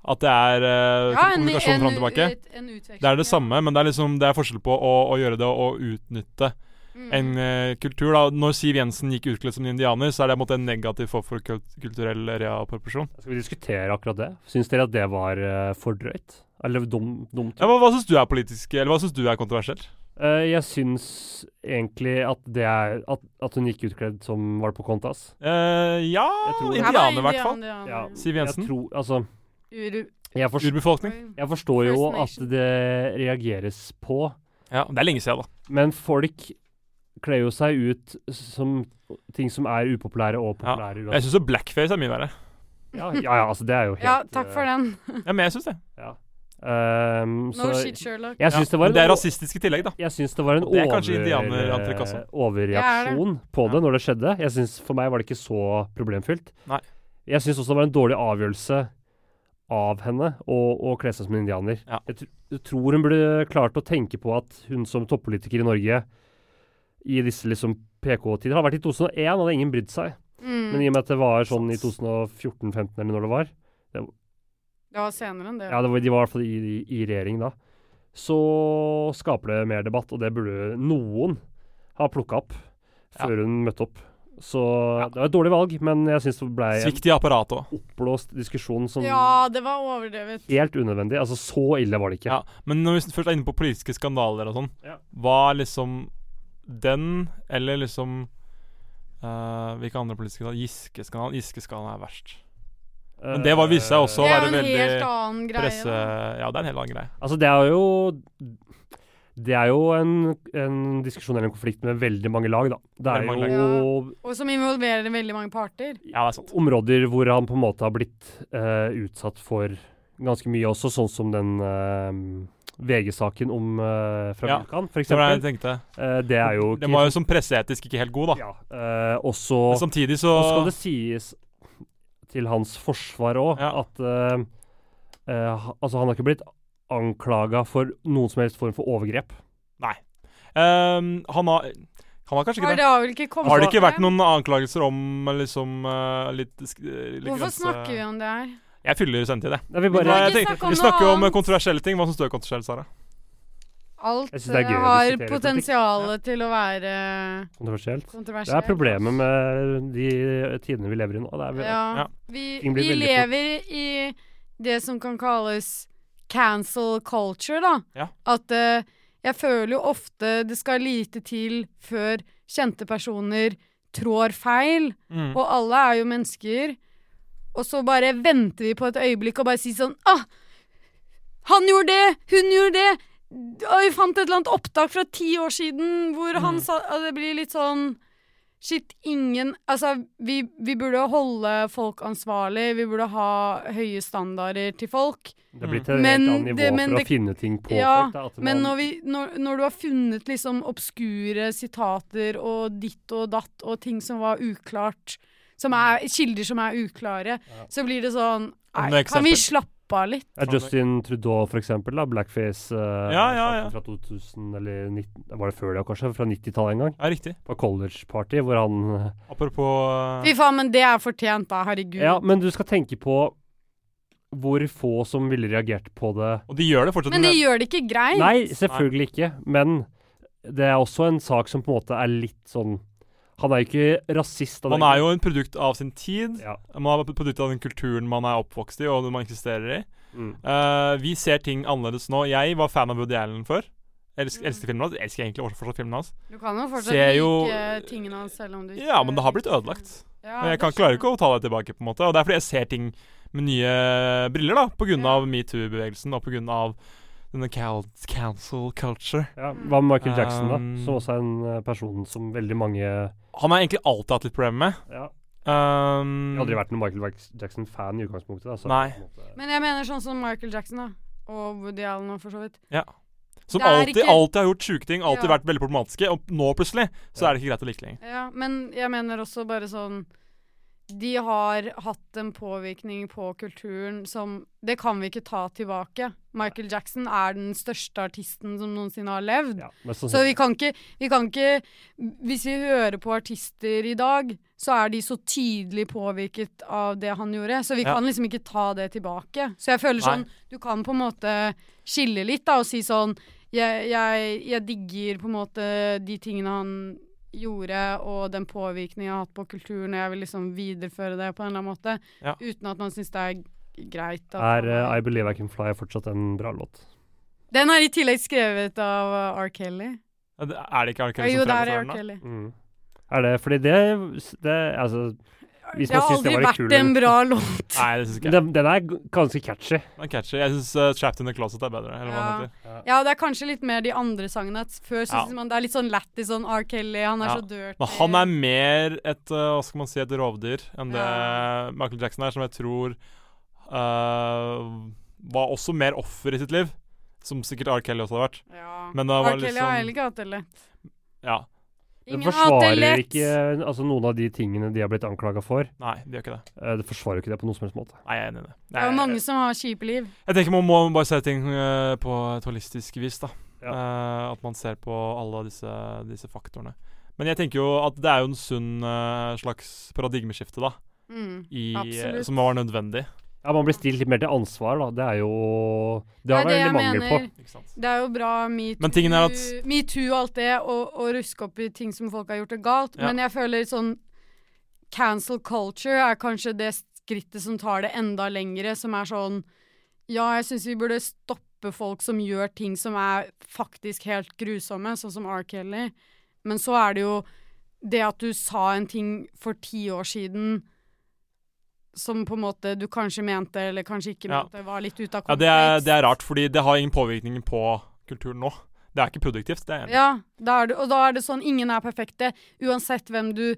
At det er eh, kommunikasjon fram og tilbake. eh, Det er det samme, men det er liksom Det er forskjell på å, å gjøre det og å utnytte Mm. en eh, kultur. da Når Siv Jensen gikk utkledd som en indianer, så er det på en måte en negativ form for kul- kulturell reappropriasjon. Skal vi diskutere akkurat det? Syns dere at det var eh, for drøyt? Eller dum, dumt? Ja, men Hva syns du er politisk, eller hva syns du er kontroversielt? Eh, jeg syns egentlig at det er at, at hun gikk utkledd som var det på Kontas. Eh, ja Jeg tror det. Indianer, i hvert fall. Ja. Siv Jensen. Jeg tror, altså, Uru... jeg, forstår, Urbefolkning. jeg forstår jo First at Nation. det reageres på, Ja, Det er lenge siden, da. men folk kler jo seg ut som ting som er upopulære og Ja, populære Jeg uansett. syns blackface er mye verre. Ja, ja, ja, altså det er jo helt eh, Ja, takk for den. Ja, men jeg synes det. ehm, så, No shit, Sherlock. jeg Ja, syns det var men det er en rasistiske tillegg, da. Jeg syns det var en Og det er over, kanskje indianerantrykk også. overreaksjon på det Ja. når det skjedde. Jeg synes For meg var det ikke så problemfylt. Nei. Jeg syns også det var en dårlig avgjørelse av henne å, å kle seg som en indianer. Ja. Jeg, tr jeg tror hun burde klart å tenke på at hun som toppolitiker i Norge i disse liksom PK-tider Hadde vært i 2001, hadde ingen brydd seg. Mm. Men i og med at det var sånn i Sant. 2014-2015 eller når det var Det var senere enn det. Ja, det var, de var i hvert fall i, i, i regjering da. Så skaper det mer debatt, og det burde noen ha plukka opp før hun møtte opp. Så det var et dårlig valg, men jeg syns det ble en Svikt i apparatet òg. oppblåst diskusjon som Ja, det var overdrevet. helt unødvendig. Altså, så ille var det ikke. Ja. Men når vi først er inne på politiske skandaler og sånn, Ja. var liksom den, eller liksom eh, Hvilke andre politiske skandaler? Giskeskandalen. Giskeskandalen er verst. Eh, Men det var- viste seg også å Det er være jo en veldig helt annen greie. Presse da. Ja, det er en helt annen greie. Altså, det er jo Det er jo en, en diskusjon eller en konflikt med veldig mange lag, da. Det er Veldig mange jo Og som involverer veldig mange parter. Ja, det er sant. områder hvor han på en måte har blitt eh, utsatt for ganske mye også, sånn som den eh, VG-saken om eh, fra Ja, Vulkan, for Det var eksempel. det jeg tenkte. Eh, det er jo Den var jo som presseetisk ikke helt god, da. ja, eh, Også Men samtidig så Nå skal det sies til hans forsvar òg Ja. at eh, eh, ha- Altså, han har ikke blitt anklaga for noen som helst form for overgrep. Ehm, han, har, han har kanskje ikke Har det. det har vel ikke kommet Har det ikke frem? vært noen anklagelser om liksom eh, litt, sk- litt eh, Hvorfor grense- snakker vi om det her? Jeg fyller sendetid, jeg. Nei, vi Men bare det er Nei, ikke jeg snakk om tenkte, vi noe snakker jo om annet. kontroversielle ting. Hva syns du er kontroversielt, Sara? Alt Jeg synes det er eh, gøy å har diskutere politikk. potensial til å være eh, kontroversielt. Det kontroversielt. er problemet med de tidene vi lever i nå. Det er, Ja. Ja. Vi, Ting blir vi veldig fort. lever i det som kan kalles cancel culture, da. Ja. At eh, jeg føler jo ofte det skal lite til før kjente personer trår feil. Mm. Og alle er jo mennesker. Og så bare venter vi på et øyeblikk og bare sier sånn ah, Han gjorde det! Hun gjorde det! Og vi fant et eller annet opptak fra ti år siden hvor Mm. han sa at Det blir litt sånn Shit, ingen Altså, vi, vi burde holde folk ansvarlig. Vi burde ha høye standarder til folk. det er blitt et Men helt annet nivå det- men for det- å finne ting på Ja, folk. Da, at Men man- når, vi, når, når du har funnet liksom obskure sitater og ditt og datt og ting som var uklart, som er, kilder som er uklare, så blir det sånn Mm. Om Nei, det er kan vi eksempel. slappe av litt? Ja, Justin Trudeau, for eksempel. da, Blackface eh, ja, ja. fra 2000 eller 19, Var det før det, kanskje? Fra 90-tallet en gang. Ja, riktig. På college-party, hvor han eh, Apropos eh, Fy faen, men det er fortjent, da. Herregud. Ja, men du skal tenke på hvor få som ville reagert på det. Og de gjør det fortsatt. men det gjør det ikke greit. Nei, selvfølgelig ikke. Men det er også en sak som på en måte er litt sånn Han er jo ikke rasist. man er jo en produkt av sin tid. ja. Man er et produkt av den kulturen man er oppvokst i, og den man eksisterer i. Mm. Eh, vi ser ting annerledes nå. Jeg var fan av Woody Allen før. Mm. Elsker, elsker filmen hans. Elsker egentlig også fortsatt filmen hans. Du kan jo fortsatt Ser like eh, jo- tingene hans selv om du ikke Ja, men det har blitt ødelagt. Ja, Men jeg det kan, klarer skjønner ikke å ta det tilbake, på en måte. Og det er fordi jeg ser ting med nye briller, da. På grunn Ja. av metoo-bevegelsen og på grunn av denne cal council culture. Ja, hva med Michael Jackson, da? Um, Som også er en eh, person som veldig mange Jeg Han har egentlig alltid hatt litt problemer med. Ja. Um, har aldri vært noen Michael Jack- Jackson-fan i utgangspunktet. Da, så Nei. på en måte- Men jeg mener sånn som Michael Jackson, da. Og Woody Allen og for så vidt. Som Det er alltid, ikke- alltid har gjort sjuke ting, alltid Ja. vært veldig problematiske, og nå plutselig så Ja. er det ikke greit å like lenger. Ja, men jeg mener også bare sånn De har hatt en påvirkning på kulturen som Det kan vi ikke ta tilbake. Michael Jackson er den største artisten som noensinne har levd. Ja, men sånn, Så vi kan, ikke, vi kan ikke Hvis vi hører på artister i dag, så er de så tydelig påvirket av det han gjorde. Så vi Ja. kan liksom ikke ta det tilbake. Så jeg føler Nei. sånn Du kan på en måte skille litt, da, og si sånn jeg, jeg, jeg digger på en måte de tingene han gjorde, og den påvirkningen jeg har hatt på kulturen, og jeg vil liksom videreføre det på en eller annen måte. Ja. Uten at man syns det er greit. at er han eh, I Believe I Can Fly fortsatt en bra låt. Den er i tillegg skrevet av eh, R. Kelly. Er det- Er det ikke R. Kelly jo, som det fremmer er for R. den, da? Kelly. Mm. Er det fordi det, det Altså, hvis det man har syns aldri det var litt vært kul en bra låt. Nei, det syns ikke jeg. den, den er g- ganske catchy. Den er catchy. Jeg syns uh, Trapped in the Closet er bedre. Eller hva den heter. Ja, det er kanskje litt mer de andre sangene. At før Ja. synes man det er litt sånn lættis, sånn R. Kelly, han er Ja. så dirty. Men han er mer et uh, hva skal man si, et rovdyr enn det Ja. Michael Jackson er, som jeg tror uh, var også mer offer i sitt liv. Som sikkert R. Kelly også har vært. ja. Men det Mm. R. var Kelly liksom har heller ikke hatt det lett. Ja. Den Ingen har hatt det forsvarer lett. ikke altså, noen av de tingene de har blitt anklaga for. Nei, det gjør ikke det. Eh, det forsvarer jo ikke det på noen som helst måte. Nei, jeg er enig i det. Det er jo Jeg- mange som har kjipe liv. Jeg tenker man må bare se ting eh, på et holistisk vis, da. Ja. Eh, at man ser på alle disse, disse faktorene. Men jeg tenker jo at det er jo en sunn eh, slags paradigmeskifte, da. Mm. I, eh, Absolutt. som var nødvendig. Ja, Man blir stilt litt mer til ansvar, da. Det er jo Det Det har er vært det jeg veldig mangel på. mener. Ikke sant? Det er jo bra metoo Men tingen er at- metoo og alt det, og, og ruske opp i ting som folk har gjort det galt. Ja. Men jeg føler sånn Cancel culture er kanskje det skrittet som tar det enda lengre, som er sånn Ja, jeg syns vi burde stoppe folk som gjør ting som er faktisk helt grusomme, sånn som R. Kelly. Men så er det jo det at du sa en ting for ti år siden som på en måte du kanskje mente, eller kanskje ikke Ja. mente, var litt ute Ja, av kontekst. det er, det er rart, fordi det har ingen påvirkning på kulturen nå. Det er ikke produktivt, det er jeg enig i. Ja, da er det, og da er det sånn ingen er perfekte. Uansett hvem du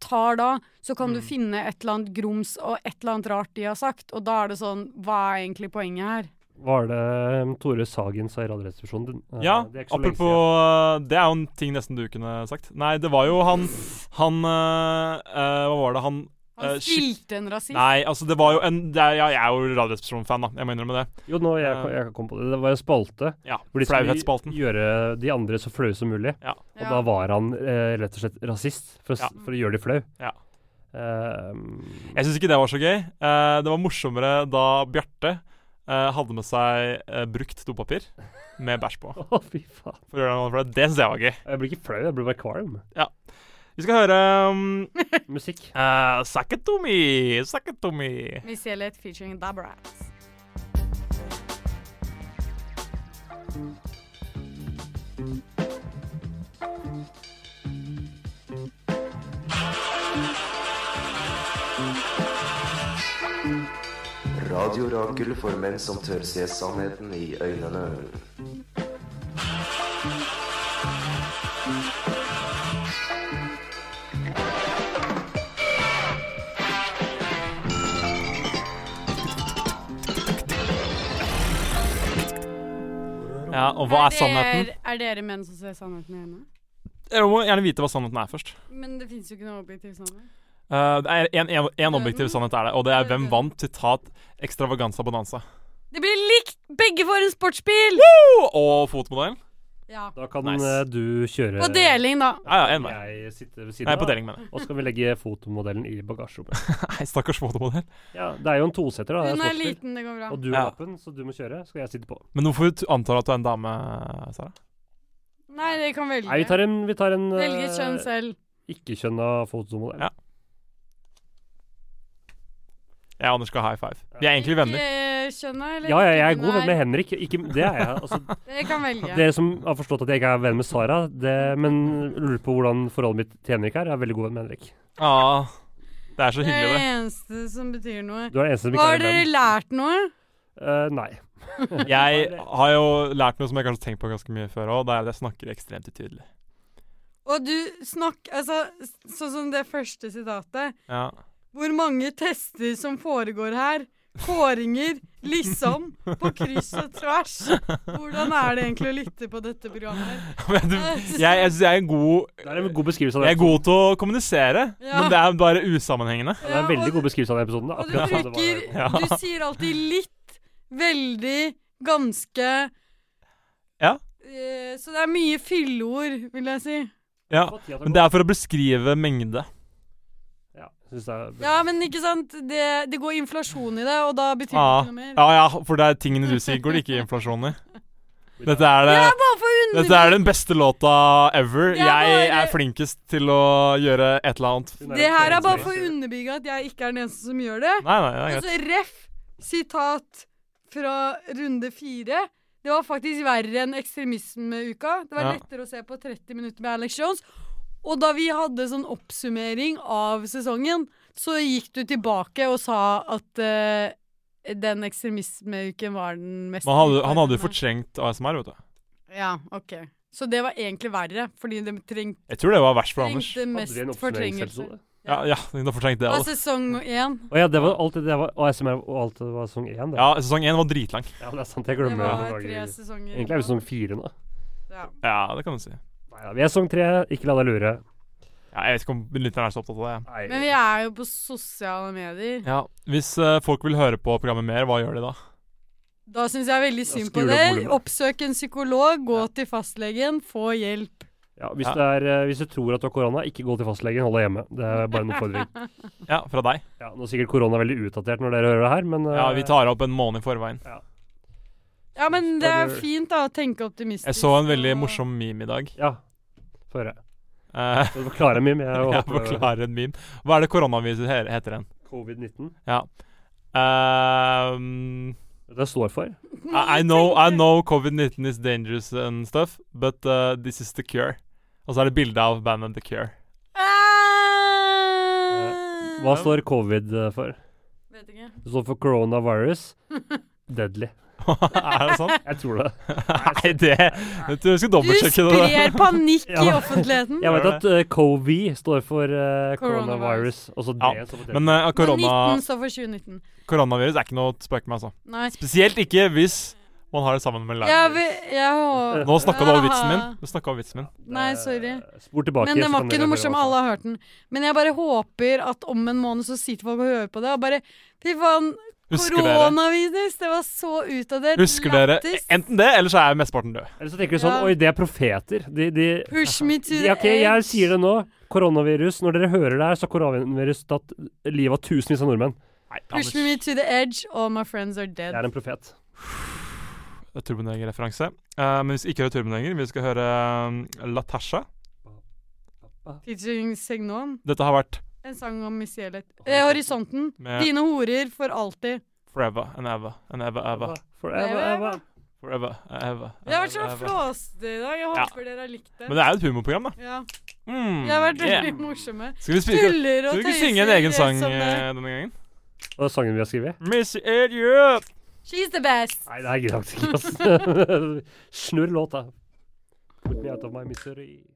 tar da, så kan Mm. du finne et eller annet grums og et eller annet rart de har sagt, og da er det sånn Hva er egentlig poenget her? Hva er det um, Tore Sagen sa i Radioresepsjonen? Den- eh, Ja, det er ikke så lenge apropos eh, Det er jo en ting nesten du kunne sagt. Nei, det var jo han Han eh, eh, Hva var det han Eh, Han shit. spilte en rasist. Nei, altså, det var jo en det er, ja, Jeg er jo Radioresepsjonen-fan, da. Jeg må innrømme det. siden. Jo, nå jeg, eh, kan- jeg kan komme på det. Det var en spalte Ja, hvor de skulle Flauhetsspalten. gjøre de andre så flaue som mulig. Og Ja. da var han eh, rett og slett rasist, for å, s- Ja. for å gjøre de flau. Ja. Ehm, Jeg syns ikke det var så gøy. Eh, det var morsommere da Bjarte eh, hadde med seg eh, brukt dopapir med bæsj på. å, fy faen. For å gjøre noe for det det syns jeg var gøy. Jeg blir ikke flau, jeg blir bare kvalm. Vi skal høre um, Musikk. eh, Sakatomi, Sakatomi. Miss Elliot featuring Dabras. Radiorakel for menn som tør se sannheten i øynene. Ja, og hva er sannheten? Er, er dere menn som ser sannheten i øynene? Jeg må gjerne vite hva sannheten er først. Men det fins jo ikke noe objektiv sannhet. Eh, det er en- en- en objektiv sannhet er det, og det er hvem Døden. vant sitat ekstravaganza bonanza. Det blir likt! Begge får en sportsbil! Woo! Og fotmodellen. Ja. Da kan Nice. eh, du kjøre Og deling, da. Ja, ja, en vei. Jeg sitter ved siden Nei, på av, deling, mener jeg. og så kan vi legge fotomodellen i bagasjerommet. Nei, stakkars fotomodell. Ja, det er jo en toseter, da. det Hun er sportsbil. liten, det går bra. Og du har Ja. lappen, så du må kjøre. Skal jeg sitte på. Men hvorfor t- antar du at du er en dame, Sara? Nei, det kan velge. Nei, vi tar en, vi tar en Velge kjønn eh, selv. ikke-kjønna fotomodell. Ja. Jeg og Anders skal ha high five. Vi er egentlig venner. Ikke kjønna, eller? Ja, ja, jeg er ikke god venn med henne. Henrik. Ikke, det er jeg. Altså, Dere kan velge. Dere som har forstått at jeg ikke er venn med Sara, det, men lurer på hvordan forholdet mitt til Henrik er, jeg er veldig god venn med Henrik. Ja, det er så det er hyggelig, det det. eneste som betyr noe. Du er den eneste som ikke Har er dere venn. lært noe? Eh, nei. Jeg har jo lært noe som jeg kanskje har tenkt på ganske mye før òg. Det er at jeg snakker ekstremt utydelig. Og du snakk... Altså, s- sånn som det første sitatet. Ja. Hvor mange tester som foregår her? Kåringer, liksom, på kryss og tvers. Hvordan er det egentlig å lytte på dette programmet? Men du, jeg jeg syns jeg er god Det er en god beskrivelse av Jeg den er god til å kommunisere, Ja. men det er bare usammenhengende. Det er en veldig god beskrivelse av den episoden. da. Og du Akkurat sånn det var. bruker Ja. Du sier alltid litt, veldig, ganske Ja. Eh, Så det er mye fylleord, vil jeg si. Ja. Mathias Men det er for å beskrive mengde. Ja, synes det er bra. Ja, men ikke sant? Det, det går inflasjon i det, og da betyr Ja. det ikke noe mer. ja ja, for det er tingene du sier, går det ikke inflasjon i. Dette er, det, Bare for å dette underbygge er den beste låta ever. Det er Jeg bare- er flinkest til å gjøre et eller annet. Hun Det en her er bare treningsminister. for å underbygge at jeg ikke er den eneste som gjør det. Nei, nei, det er greit. Altså, ref. Sitat fra runde fire. Det var faktisk verre enn ekstremismeuka. Det var Ja. lettere å se på 30 minutter med Alex Jones. Og da vi hadde sånn oppsummering av sesongen, så gikk du tilbake og sa at eh, den ekstremismeuken var den mest Men han hadde, han hadde jo utfordrende. fortrengt ASMR, vet du. Ja, ok. Så det var egentlig verre, fordi de trengte, Jeg tror det var verst for Anders. trengte Hadde vi en mest fortrengelse. oppsummeringsepisode? Ja, ja, den har fortrengt det altså. Det var også. sesong én. Å ja, det var alt det- det var ASMR og alt det var sesong én. det. Ja, sesong én var dritlang. ja, det er sant. Jeg Det glemmer det. var noen tre ganger. sesonger. Egentlig er sånn- vi sesong fire nå. Ja. Ja, det kan du si. Nei, ja, vi er sesong tre. Ikke la deg lure. Ja, jeg vet ikke om lytteren er så opptatt av det. Nei. Men vi er jo på sosiale medier. Ja, Hvis eh, folk vil høre på programmet mer, hva gjør de da? Da syns jeg veldig synd på skrur det dere. volumet. Oppsøk en psykolog, gå til fastlegen, få hjelp. ja, hvis, det er, eh, hvis du tror at du har korona, ikke gå til fastlegen. Hold deg hjemme. Det er bare en oppfordring. Ja, fra deg. Ja, nå er sikkert korona veldig utdatert når dere hører det her, men eh, Ja, Vi tar opp en måned i forveien. Ja, men det er Spør du- fint da å tenke optimistisk. Jeg så en veldig og- morsom meme i dag. eh, Ja. Få høre. Eh, Så forklarer jeg mye, men jeg jeg håper forklarer en meme. Hva er det koronaviruset he- heter igjen? covid-19 Eh, Det står for. I, I know, I know covid-19 is dangerous and stuff, but eh, this is the cure. Og så er det bilde av bandet The Cure. Ah! Hva står covid eh, for? Vet ikke. Det står for coronavirus. Deadly. er det sånn? Jeg tror det. Nei, det Jeg tror jeg skal Du dobbeltsjekke det. der. sprer panikk i Ja. offentligheten. Jeg vet Gjør at uh, COVI står for eh, Coronavirus. coronavirus. Og så Ja, det som Men eh, korona, 19 står for 2019. koronavirus er ikke noe å spøke med, altså. Nei. Spesielt ikke hvis man har det sammen med Jeg, læreren. vil- jeg håper Nå snakka du over vitsen min. Du snakket over vitsen min. Nei, sorry. Spor Eh, tilbake. Men så den var kan ikke dere noe høre morsom. hva Alle har hørt den. Men jeg bare håper at om en måned så sitter folk og hører på det og bare Fy faen, Husker dere? koronavirus! Det var så utdatert. Husker dere? Lættis. Enten det, eller så er mesteparten død. Eller så tenker du sånn Ja. Oi, det er profeter. De, de, Push me to de the Ok, jeg sier det nå. Koronavirus. Når dere hører det her, så har koronavirus tatt livet av tusenvis av nordmenn. Nei, Push me Anders. to the edge, all my friends are Det dead. er en profet. Det er Turboneger-referanse. Eh, men vi skal ikke høre Turboneger, vi skal høre eh, Latasha. Featuring Signon. Dette har vært En sang om misgjellet. Eh, horisonten. Med- Dine horer for alltid. Forever and Ever and Ever Ever. Forever, ever. Forever and Ever. Det har vært and så ever. flåsete i dag. Jeg Ja. håper dere har likt det. Men det er jo et humorprogram, da. ja. Mm, De har vært yeah. veldig morsomme. Skal vi, spille, skal, Tuller skal og vi ikke tøyser. synge en egen sang som, eh, eh, denne gangen? Og det er sangen vi har skrevet? Miss Idiot! She's the best. Nei, det er greit ikke, ass. Snurr låta. Put me out of my misery.